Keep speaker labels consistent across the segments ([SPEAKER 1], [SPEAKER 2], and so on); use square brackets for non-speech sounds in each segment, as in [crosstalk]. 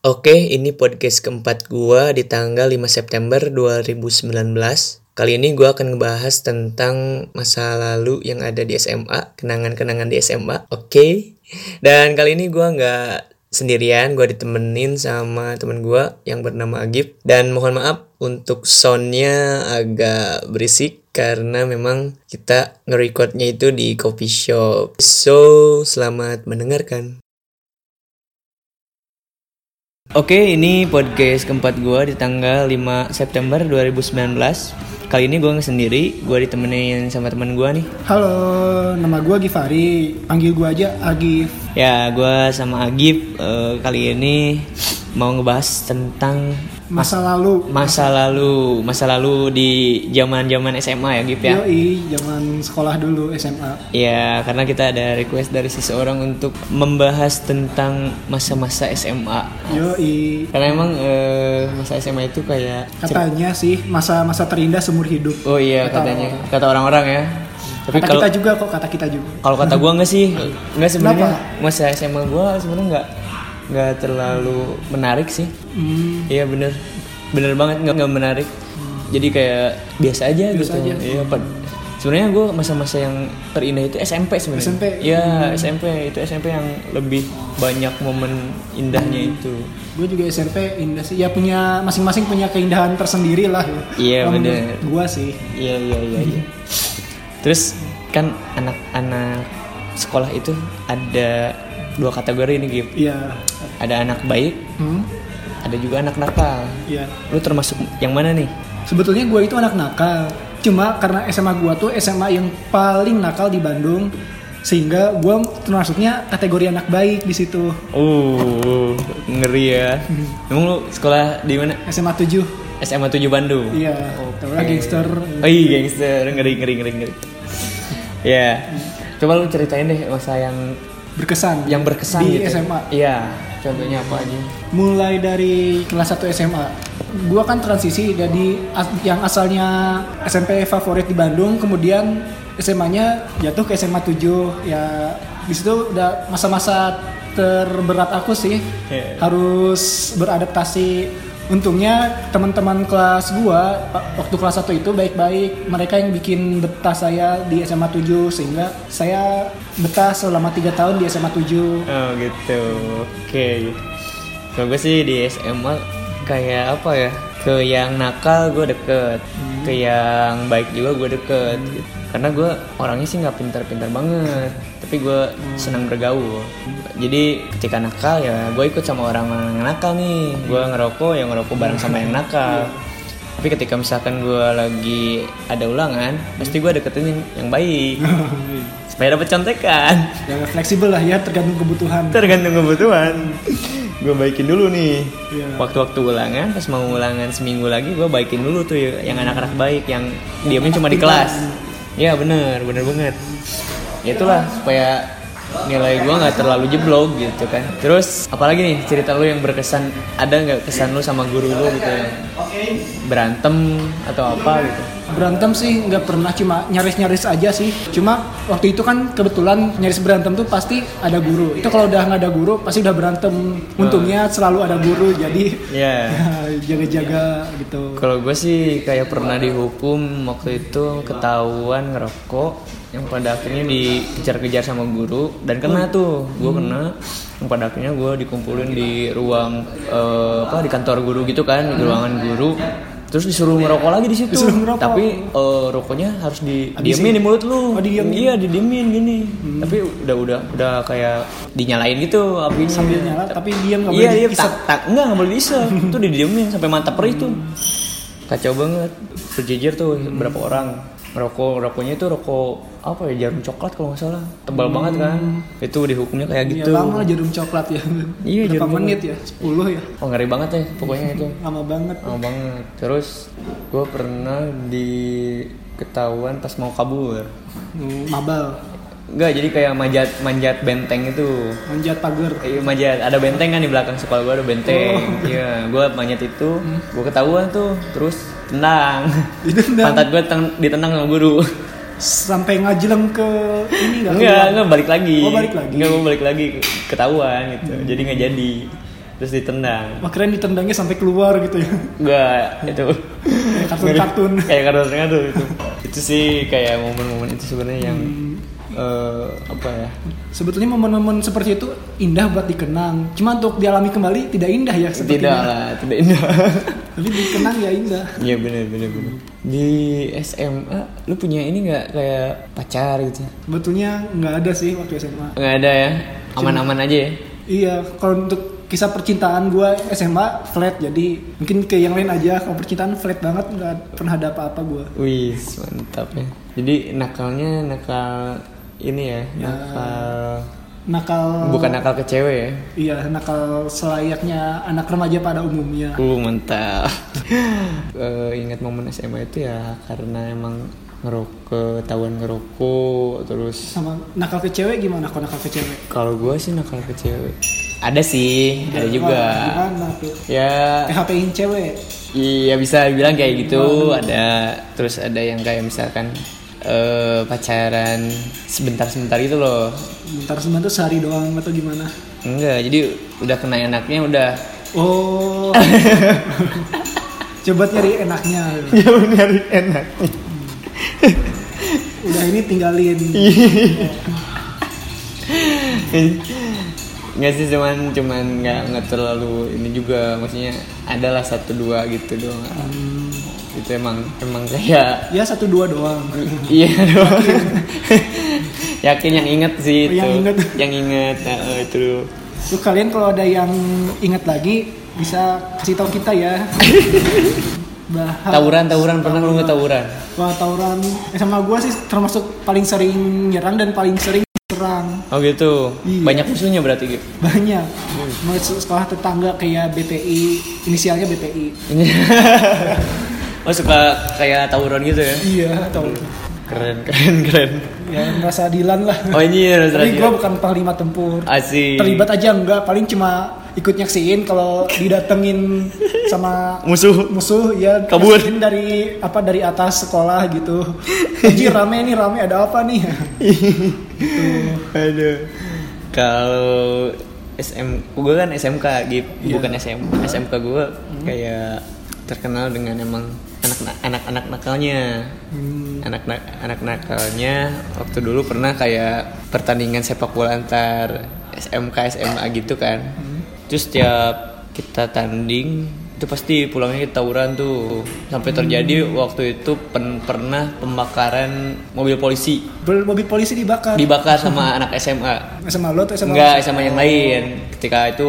[SPEAKER 1] Oke, ini podcast keempat gua di tanggal 5 September 2019. Kali ini gua akan ngebahas tentang masa lalu yang ada di SMA, kenangan-kenangan di SMA. Oke. Dan kali ini gua nggak sendirian, gua ditemenin sama temen gua yang bernama Agib dan mohon maaf untuk soundnya agak berisik karena memang kita nge-recordnya itu di coffee shop. So, selamat mendengarkan. Oke, ini podcast keempat gua di tanggal 5 September 2019. Kali ini gua nggak sendiri, gua ditemenin sama teman gua nih.
[SPEAKER 2] Halo, nama gue Givari. Panggil gue aja Agif.
[SPEAKER 1] Ya, gua sama Agib eh, kali ini mau ngebahas tentang
[SPEAKER 2] Masa lalu.
[SPEAKER 1] masa lalu, masa lalu di zaman-zaman SMA ya, Agib ya.
[SPEAKER 2] Yoi, zaman sekolah dulu SMA.
[SPEAKER 1] Ya, karena kita ada request dari seseorang untuk membahas tentang masa-masa SMA.
[SPEAKER 2] Yoi.
[SPEAKER 1] Karena emang eh, masa SMA itu kayak
[SPEAKER 2] Katanya sih masa-masa terindah seumur hidup.
[SPEAKER 1] Oh iya
[SPEAKER 2] Kata
[SPEAKER 1] katanya, kata orang-orang ya. Tapi
[SPEAKER 2] kata
[SPEAKER 1] kalau
[SPEAKER 2] kita juga kok, kata kita juga.
[SPEAKER 1] kalau kata gua nggak sih, nggak sebenarnya
[SPEAKER 2] Kenapa?
[SPEAKER 1] masa SMA gua sebenarnya nggak nggak terlalu menarik sih.
[SPEAKER 2] Hmm,
[SPEAKER 1] Iya bener, bener banget nggak nggak menarik. Jadi kayak biasa aja gitu.
[SPEAKER 2] aja.
[SPEAKER 1] Iya pad- Sebenarnya gua masa-masa yang terindah itu SMP sebenarnya.
[SPEAKER 2] SMP.
[SPEAKER 1] Iya
[SPEAKER 2] Hmm.
[SPEAKER 1] SMP itu SMP yang lebih banyak momen indahnya
[SPEAKER 2] Hmm.
[SPEAKER 1] itu.
[SPEAKER 2] gue juga SMP indah sih. Ya punya masing-masing punya keindahan tersendiri lah. ya.
[SPEAKER 1] Iya,
[SPEAKER 2] Kalau menurut
[SPEAKER 1] bener.
[SPEAKER 2] Gue sih.
[SPEAKER 1] Iya iya iya. iya. Terus kan anak-anak sekolah itu ada dua kategori nih Gip.
[SPEAKER 2] Iya.
[SPEAKER 1] Ada anak baik,
[SPEAKER 2] Hmm,
[SPEAKER 1] ada juga anak nakal.
[SPEAKER 2] iya.
[SPEAKER 1] Lu termasuk yang mana nih?
[SPEAKER 2] Sebetulnya gue itu anak nakal. Cuma karena SMA gue tuh SMA yang paling nakal di Bandung, sehingga gue termasuknya kategori anak baik di situ.
[SPEAKER 1] Uh, ngeri ya. [laughs] Emang lu sekolah di mana?
[SPEAKER 2] SMA 7
[SPEAKER 1] SMA 7 Bandung.
[SPEAKER 2] Iya, terus gangster.
[SPEAKER 1] Oh iya gangster, ngeri ngeri ngeri ngeri. Ya. Coba lu ceritain deh masa yang
[SPEAKER 2] Berkesan.
[SPEAKER 1] yang berkesan
[SPEAKER 2] di
[SPEAKER 1] gitu.
[SPEAKER 2] SMA.
[SPEAKER 1] Iya, contohnya apa aja?
[SPEAKER 2] Mulai dari kelas 1 SMA. Gua kan transisi dari as- yang asalnya SMP favorit di Bandung, kemudian SMA-nya jatuh ke SMA 7. Ya di situ udah masa-masa terberat aku sih.
[SPEAKER 1] Iya.
[SPEAKER 2] Harus beradaptasi. Untungnya teman-teman kelas gua pa- waktu kelas 1 itu baik-baik. Mereka yang bikin betah saya di SMA 7 sehingga saya betah selama 3 tahun di SMA 7.
[SPEAKER 1] [laughs] Oh gitu, oke. Kalau gue sih di SMA kayak apa ya? Ke yang nakal gue deket, ke yang baik juga gue deket. gitu. Karena gue orangnya sih nggak pintar-pintar banget, tapi gue senang bergaul. Jadi ketika nakal ya gue ikut sama orang-orang yang nakal nih. Gue ngerokok, yang ngerokok bareng sama yang nakal. Tapi ketika misalkan gue lagi ada ulangan, pasti gue deketin yang- yang baik
[SPEAKER 2] [laughs]
[SPEAKER 1] supaya dapat contekan.
[SPEAKER 2] Ya, fleksibel lah ya tergantung kebutuhan.
[SPEAKER 1] tergantung kebutuhan gue baikin dulu nih
[SPEAKER 2] Iya.
[SPEAKER 1] waktu-waktu ulangan pas mau ulangan seminggu lagi gue baikin dulu tuh yang anak-anak baik yang diamnya cuma di kelas ya bener bener banget Ya itulah supaya nilai gue nggak terlalu jeblok gitu kan terus apalagi nih cerita lu yang berkesan ada nggak kesan lu sama guru lu gitu yang berantem atau apa gitu
[SPEAKER 2] Berantem sih nggak pernah cuma nyaris-nyaris aja sih. Cuma waktu itu kan kebetulan nyaris berantem tuh pasti ada guru. Itu kalau udah nggak ada guru pasti udah berantem. Untungnya selalu ada guru jadi [laughs]
[SPEAKER 1] ya
[SPEAKER 2] jaga-jaga gitu.
[SPEAKER 1] Kalau gue sih kayak pernah dihukum waktu itu ketahuan ngerokok yang pada akhirnya dikejar-kejar sama guru dan
[SPEAKER 2] Hmm.
[SPEAKER 1] kena tuh gue kena yang pada akhirnya gue dikumpulin di ruang eh, apa di kantor guru gitu kan di ruangan guru terus disuruh ngerokok lagi di situ
[SPEAKER 2] Hmm. Disuruh ngerokok.
[SPEAKER 1] tapi eh, rokoknya harus di diemin di mulut lu
[SPEAKER 2] Oh, Hmm. didiemin.
[SPEAKER 1] iya didiemin gini tapi udah udah udah kayak dinyalain gitu apinya
[SPEAKER 2] Sambil nyala tapi diam nggak
[SPEAKER 1] iya
[SPEAKER 2] boleh
[SPEAKER 1] iya
[SPEAKER 2] diisep.
[SPEAKER 1] tak tak enggak nggak boleh
[SPEAKER 2] [laughs]
[SPEAKER 1] bisa itu didiemin sampai mata perih tuh kacau banget berjejer tuh
[SPEAKER 2] Hmm.
[SPEAKER 1] berapa orang rokok rokoknya itu rokok apa ya jarum coklat kalau nggak salah tebal
[SPEAKER 2] Hmm.
[SPEAKER 1] banget kan itu dihukumnya kayak
[SPEAKER 2] Ya,
[SPEAKER 1] gitu
[SPEAKER 2] lama lah jarum coklat ya.
[SPEAKER 1] Iya,
[SPEAKER 2] Berapa
[SPEAKER 1] jarum
[SPEAKER 2] menit ya? 10 ya.
[SPEAKER 1] oh ngeri banget ya pokoknya itu
[SPEAKER 2] Lama banget.
[SPEAKER 1] lama banget terus gue pernah diketahuan pas mau kabur
[SPEAKER 2] Hmm, Mabal.
[SPEAKER 1] Enggak, jadi kayak manjat manjat benteng itu
[SPEAKER 2] Manjat pagar.
[SPEAKER 1] Iya manjat, ada benteng kan di belakang sekolah gue ada benteng. Iya, gue manjat itu, gue ketahuan tuh, terus tenang.
[SPEAKER 2] Ditendang.
[SPEAKER 1] Pantat gue ditendang sama guru.
[SPEAKER 2] Sampai ngajeleng ke ini nggak
[SPEAKER 1] Enggak, enggak balik lagi.
[SPEAKER 2] Oh, balik lagi.
[SPEAKER 1] Enggak, gue balik lagi ketahuan gitu. Jadi nggak jadi. terus ditendang
[SPEAKER 2] Wah keren ditendangnya sampai keluar gitu ya.
[SPEAKER 1] Enggak, itu
[SPEAKER 2] Kayak kartun-kartun.
[SPEAKER 1] kayak kartun-kartun itu itu sih kayak momen-momen itu sebenarnya yang eh, apa ya
[SPEAKER 2] Sebetulnya momen-momen seperti itu indah buat dikenang. Cuma untuk dialami kembali tidak indah ya
[SPEAKER 1] tidak
[SPEAKER 2] sepertinya.
[SPEAKER 1] lah tidak indah [laughs]
[SPEAKER 2] Tapi dikenang ya indah.
[SPEAKER 1] Iya bener bener bener di SMA lu punya ini nggak kayak pacar gitu
[SPEAKER 2] Sebetulnya nggak ada sih waktu SMA.
[SPEAKER 1] nggak ada ya aman-aman aja ya
[SPEAKER 2] Iya, kalau untuk kisah percintaan gua SMA flat jadi mungkin ke yang lain aja kalau percintaan flat banget nggak pernah ada apa-apa gua
[SPEAKER 1] Wih, mantap ya. Jadi nakalnya nakal ini ya, Oh. nakal
[SPEAKER 2] nakal
[SPEAKER 1] bukan nakal ke cewek ya.
[SPEAKER 2] iya nakal selayaknya anak remaja pada umumnya
[SPEAKER 1] Uh, mantap. [laughs] Eh, ingat momen SMA itu ya karena emang ngerokok, ketahuan ngerokok terus
[SPEAKER 2] sama nakal ke cewek gimana kalau nakal ke cewek
[SPEAKER 1] kalau gua sih nakal ke cewek. Ada sih, ada juga.
[SPEAKER 2] Wah, gimana tuh
[SPEAKER 1] Ya,
[SPEAKER 2] PHP-in cewek
[SPEAKER 1] Iya bisa bilang kayak gitu ada terus ada yang kayak misalkan eh, pacaran sebentar-sebentar gitu loh
[SPEAKER 2] bentar sebentar tuh sehari doang atau gimana
[SPEAKER 1] enggak jadi udah kena enaknya udah
[SPEAKER 2] oh coba nyari enaknya
[SPEAKER 1] ya nyari enak
[SPEAKER 2] udah ini tinggalin
[SPEAKER 1] Iya. nggak sih cuman cuman nggak nggak terlalu ini juga maksudnya adalah satu dua gitu doang itu emang emang kayak
[SPEAKER 2] ya satu dua doang
[SPEAKER 1] iya doang yakin yang inget sih
[SPEAKER 2] Oh,
[SPEAKER 1] itu
[SPEAKER 2] yang inget.
[SPEAKER 1] yang inget nah, eh, itu
[SPEAKER 2] Lu kalian kalau ada yang ingat lagi bisa kasih tahu kita ya. Bahas.
[SPEAKER 1] tawuran tawuran pernah lu nggak tawuran
[SPEAKER 2] Wah, tawuran Eh, sama gua sih termasuk paling sering nyerang dan paling sering serang
[SPEAKER 1] Oh gitu.
[SPEAKER 2] Iya.
[SPEAKER 1] Banyak musuhnya berarti gitu.
[SPEAKER 2] banyak. Mau se- sekolah tetangga kayak BPI, inisialnya BPI.
[SPEAKER 1] [laughs] oh suka kayak tawuran gitu ya?
[SPEAKER 2] Iya, tahu.
[SPEAKER 1] Keren keren keren.
[SPEAKER 2] Ya merasa dilan lah.
[SPEAKER 1] Oh ini
[SPEAKER 2] Tapi
[SPEAKER 1] rasanya.
[SPEAKER 2] gua bukan panglima tempur.
[SPEAKER 1] Asik.
[SPEAKER 2] Terlibat aja enggak, paling cuma ikut nyaksiin kalau didatengin sama
[SPEAKER 1] musuh.
[SPEAKER 2] musuh ya
[SPEAKER 1] Kabur.
[SPEAKER 2] masukin dari apa dari atas sekolah gitu Anjir rame nih rame ada apa nih
[SPEAKER 1] Aduh. Kalau SM gue kan SMK gitu, bukan SM. SMK gue kayak terkenal dengan emang anak anak-anak nakalnya. Anak anak nakalnya waktu dulu pernah kayak pertandingan sepak bola antar SMK SMA gitu kan. Terus tiap kita tanding itu pasti pulangnya kita tawuran tuh sampai terjadi waktu itu pen- pernah pembakaran mobil polisi
[SPEAKER 2] Ber- mobil polisi dibakar
[SPEAKER 1] dibakar sama anak SMA
[SPEAKER 2] sama lo tuh sama
[SPEAKER 1] enggak sama yang lain ketika itu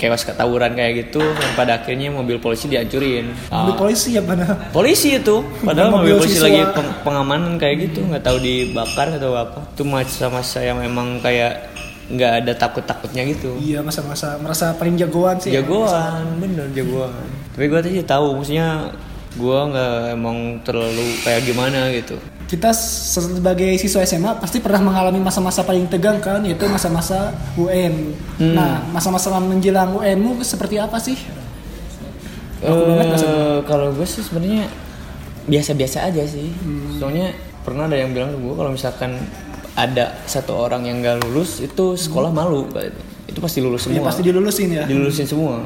[SPEAKER 1] chaos ketawuran kayak gitu dan pada akhirnya mobil polisi dihancurin
[SPEAKER 2] mobil
[SPEAKER 1] Ah,
[SPEAKER 2] polisi ya mana
[SPEAKER 1] polisi itu padahal mobil,
[SPEAKER 2] Mobil
[SPEAKER 1] polisi
[SPEAKER 2] siswa.
[SPEAKER 1] lagi peng- pengamanan kayak gitu nggak tahu dibakar atau apa itu masa-masa yang memang kayak nggak ada takut-takutnya gitu
[SPEAKER 2] iya masa-masa merasa paling jagoan sih
[SPEAKER 1] jagoan bener jagoan tapi gue tadi tahu maksudnya gue nggak emang terlalu kayak gimana gitu
[SPEAKER 2] kita se- sebagai siswa SMA pasti pernah mengalami masa-masa paling tegang kan yaitu masa-masa UN
[SPEAKER 1] Hmm.
[SPEAKER 2] nah masa-masa menjelang UN mu seperti apa sih Aku banget nggak
[SPEAKER 1] Eh, kalau gue sih sebenarnya biasa-biasa aja sih.
[SPEAKER 2] Hmm.
[SPEAKER 1] Soalnya pernah ada yang bilang ke gue kalau misalkan ada satu orang yang gak lulus itu sekolah malu kali itu. Itu pasti lulus
[SPEAKER 2] ya
[SPEAKER 1] semua.
[SPEAKER 2] pasti dilulusin ya
[SPEAKER 1] dilulusin semua.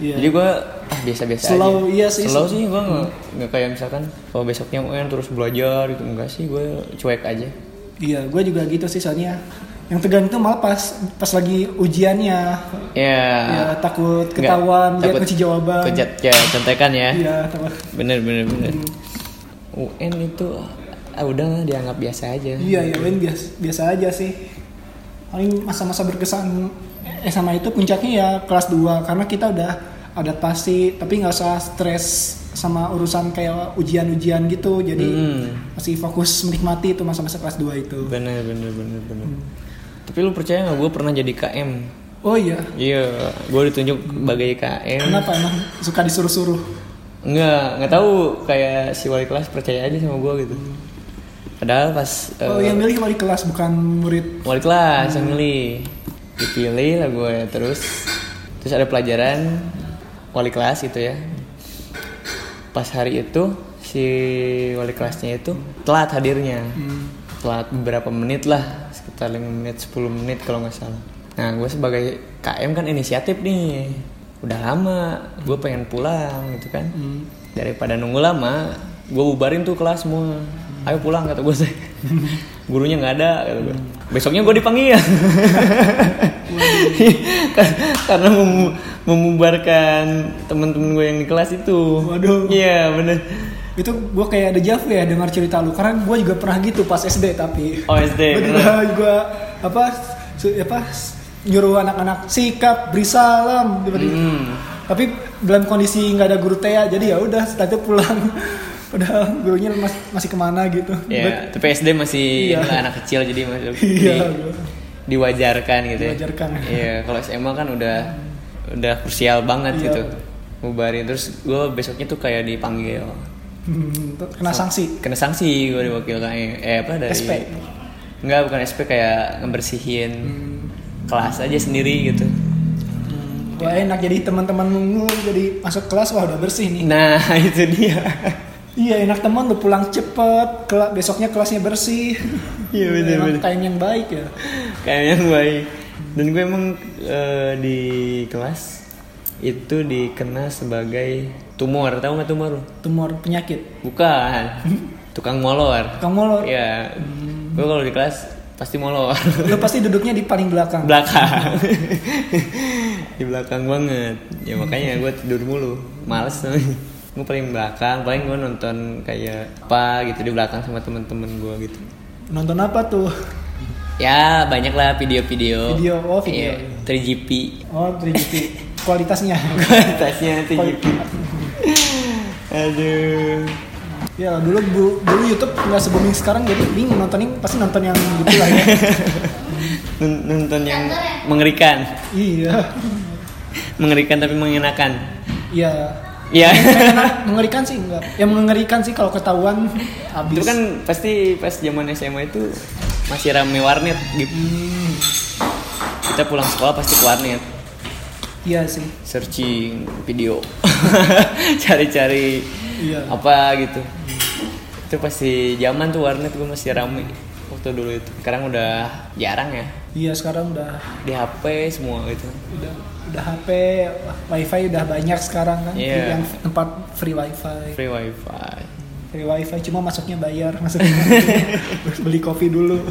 [SPEAKER 2] Iya.
[SPEAKER 1] Jadi gue ah, biasa-biasa aja.
[SPEAKER 2] Slow, Hmm. iya sih.
[SPEAKER 1] Slow sih gue nggak nggak kayak misalkan kalau besoknya UN terus belajar gitu enggak sih gue cuek aja.
[SPEAKER 2] Iya, gue juga gitu sih soalnya. Yang tegang itu malah pas pas lagi ujiannya.
[SPEAKER 1] Ya.
[SPEAKER 2] Ya, takut
[SPEAKER 1] nggak-
[SPEAKER 2] ketahuan, dia
[SPEAKER 1] takut
[SPEAKER 2] kunci jawaban.
[SPEAKER 1] Kejat ya contekan ya.
[SPEAKER 2] Iya, takut.
[SPEAKER 1] Bener bener bener. UN itu ah, udah dianggap biasa aja.
[SPEAKER 2] Iya, ya Win biasa, biasa aja sih. Paling masa-masa berkesan eh, sama itu puncaknya ya kelas 2 karena kita udah adaptasi tapi nggak usah stres sama urusan kayak ujian-ujian gitu. Jadi
[SPEAKER 1] Hmm.
[SPEAKER 2] masih fokus menikmati itu masa-masa kelas 2 itu.
[SPEAKER 1] Bener bener bener bener. Tapi lu percaya nggak gue pernah jadi KM?
[SPEAKER 2] Oh iya.
[SPEAKER 1] Iya, gue ditunjuk sebagai KM.
[SPEAKER 2] Kenapa emang suka disuruh-suruh?
[SPEAKER 1] Enggak, nggak tahu kayak si wali kelas percaya aja sama gue gitu. Padahal pas eh,
[SPEAKER 2] Oh, yang milih wali kelas bukan murid.
[SPEAKER 1] wali kelas yang milih, dipilih lah gue terus terus ada pelajaran wali kelas gitu ya. Pas hari itu si wali kelasnya itu telat hadirnya. telat beberapa menit lah sekitar 5 menit 10 menit kalau nggak salah nah gue sebagai KM kan inisiatif nih udah lama gue pengen pulang gitu kan daripada nunggu lama gue bubarin tuh kelas semua ayo pulang kata gue
[SPEAKER 2] [laughs]
[SPEAKER 1] gurunya nggak ada kata gue besoknya gue dipanggil Kar- [laughs] karena memu- membubarkan teman-teman gue yang di kelas itu
[SPEAKER 2] Waduh.
[SPEAKER 1] iya bener
[SPEAKER 2] itu gue kayak ada javu ya dengar cerita lu karena gue juga pernah gitu pas SD tapi
[SPEAKER 1] Oh, SD,
[SPEAKER 2] gue juga, juga apa su- apa s- nyuruh anak-anak sikap beri salam seperti itu.
[SPEAKER 1] Hmm.
[SPEAKER 2] tapi dalam kondisi nggak ada guru TEA jadi ya udah setelah itu pulang [laughs] udah gurunya mas- masih kemana gitu
[SPEAKER 1] Ya, tapi SD masih
[SPEAKER 2] Iya.
[SPEAKER 1] lah [laughs] anak kecil jadi masih
[SPEAKER 2] [laughs] iya
[SPEAKER 1] di- diwajarkan gitu. ya.
[SPEAKER 2] Diwajarkan.
[SPEAKER 1] Iya, kalau SMA kan udah udah krusial banget
[SPEAKER 2] Iya.
[SPEAKER 1] gitu. Ngubarin terus gue besoknya tuh kayak dipanggil.
[SPEAKER 2] Hmm, tuh kena sanksi
[SPEAKER 1] Kena sanksi gue diwakilkan eh apa dari
[SPEAKER 2] SP.
[SPEAKER 1] Enggak, bukan SP kayak ngebersihin kelas aja sendiri gitu.
[SPEAKER 2] Hmm, wah enak jadi teman-teman lu jadi masuk kelas wah udah bersih nih
[SPEAKER 1] Nah, [laughs] itu dia.
[SPEAKER 2] Iya enak teman lu pulang cepet, kela- besoknya kelasnya bersih.
[SPEAKER 1] Iya, bener,
[SPEAKER 2] Emang
[SPEAKER 1] bener.
[SPEAKER 2] Time yang baik ya.
[SPEAKER 1] Kayaknya yang baik. Dan gue emang eh, di kelas itu dikena sebagai tumor, tahu nggak tumor? lu?
[SPEAKER 2] Tumor penyakit.
[SPEAKER 1] Bukan. [laughs] Tukang molor.
[SPEAKER 2] Kamu lo,
[SPEAKER 1] Iya. Gue kalau di kelas pasti molor.
[SPEAKER 2] lo pasti duduknya di paling belakang.
[SPEAKER 1] belakang. [laughs] di belakang banget. Ya makanya gue tidur mulu. Males namanya. Gue paling belakang, paling gue nonton kayak apa gitu di belakang sama temen-temen gue gitu.
[SPEAKER 2] Nonton apa tuh?
[SPEAKER 1] Ya banyak lah video-video.
[SPEAKER 2] Video, oh, video.
[SPEAKER 1] Iya, 3GP.
[SPEAKER 2] Oh 3GP. Kualitasnya.
[SPEAKER 1] Kualitasnya 3GP.
[SPEAKER 2] Kualitas.
[SPEAKER 1] Aduh.
[SPEAKER 2] Ya dulu bu- dulu YouTube nggak se booming sekarang jadi bingung nontonin pasti nonton yang gitu lah
[SPEAKER 1] [laughs]
[SPEAKER 2] ya.
[SPEAKER 1] Nun- Nonton yang mengerikan.
[SPEAKER 2] iya.
[SPEAKER 1] Mengerikan tapi mengenakan.
[SPEAKER 2] Iya.
[SPEAKER 1] Iya. [laughs]
[SPEAKER 2] mengerikan sih enggak. Yang mengerikan sih kalau ketahuan habis.
[SPEAKER 1] itu kan pasti pas zaman SMA itu masih rame warnet gitu.
[SPEAKER 2] Hmm,
[SPEAKER 1] Kita pulang sekolah pasti ke warnet
[SPEAKER 2] iya sih.
[SPEAKER 1] searching video. [laughs] Cari-cari
[SPEAKER 2] Iya.
[SPEAKER 1] apa gitu. Itu pasti zaman tuh warnet gue masih rame waktu dulu itu. Sekarang udah jarang ya.
[SPEAKER 2] Iya sekarang udah
[SPEAKER 1] Di HP semua gitu.
[SPEAKER 2] udah udah HP WiFi udah banyak sekarang kan
[SPEAKER 1] Iya.
[SPEAKER 2] yang tempat free WiFi
[SPEAKER 1] Free WiFi.
[SPEAKER 2] free WiFi cuma masuknya bayar [laughs] masuknya harus beli kopi dulu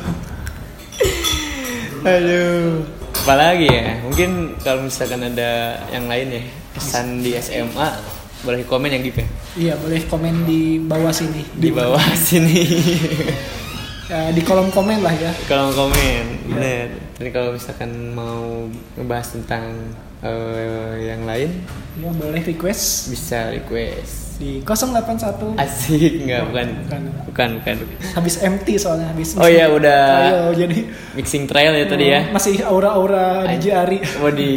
[SPEAKER 1] Aduh. Apalagi ya? Mungkin kalau misalkan ada yang lain ya kesan di SMA boleh komen yang gitu ya.
[SPEAKER 2] iya boleh komen di bawah sini
[SPEAKER 1] di bawah [laughs] sini
[SPEAKER 2] Ya, di kolom komen lah ya
[SPEAKER 1] kolom komen bener jadi kalau misalkan mau ngebahas tentang eh, yang lain
[SPEAKER 2] ya boleh request
[SPEAKER 1] bisa request
[SPEAKER 2] di 081
[SPEAKER 1] asik nggak bukan
[SPEAKER 2] Bukan.
[SPEAKER 1] bukan bukan
[SPEAKER 2] habis empty soalnya habis
[SPEAKER 1] Oh iya, udah.
[SPEAKER 2] Ayo, jadi
[SPEAKER 1] mixing trial ya tadi ya
[SPEAKER 2] masih aura-aura DJ
[SPEAKER 1] Oh,
[SPEAKER 2] Ari
[SPEAKER 1] Wadi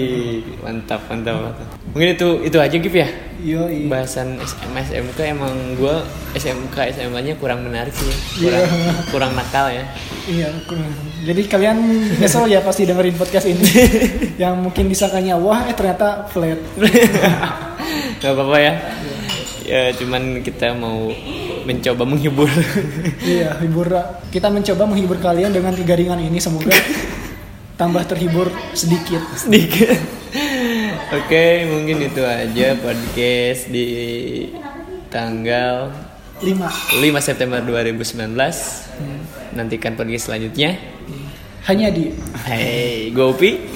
[SPEAKER 1] mantap mantap mantap. mungkin itu itu aja Gif ya
[SPEAKER 2] yo iya
[SPEAKER 1] bahasan SMA SMK emang gue SMK SMA nya kurang menarik sih ya. kurang
[SPEAKER 2] Iya.
[SPEAKER 1] kurang nakal ya
[SPEAKER 2] Iya, kurang. jadi kalian nyesel ya pasti dengerin podcast
[SPEAKER 1] [laughs]
[SPEAKER 2] ini yang mungkin disangkanya wah eh ternyata flat
[SPEAKER 1] nggak apa-apa ya ya cuman kita mau mencoba menghibur [laughs]
[SPEAKER 2] Iya, hibur. Kita mencoba menghibur kalian dengan kegaringan ini semoga tambah terhibur sedikit.
[SPEAKER 1] sedikit oke mungkin itu aja podcast di tanggal 5
[SPEAKER 2] 5.
[SPEAKER 1] September 2019 nantikan podcast selanjutnya
[SPEAKER 2] Hanya di
[SPEAKER 1] Hai, gue Upi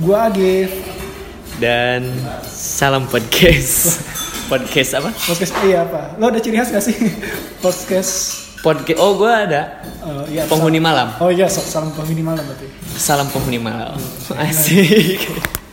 [SPEAKER 2] gua Agif
[SPEAKER 1] dan salam podcast podcast apa
[SPEAKER 2] podcast iya apa? Lo ada ciri khas gak sih? [laughs] podcast
[SPEAKER 1] podcast oh gue ada
[SPEAKER 2] eh, iya,
[SPEAKER 1] penghuni malam
[SPEAKER 2] sal- Oh iya, sal- salam penghuni malam berarti.
[SPEAKER 1] salam penghuni malam asik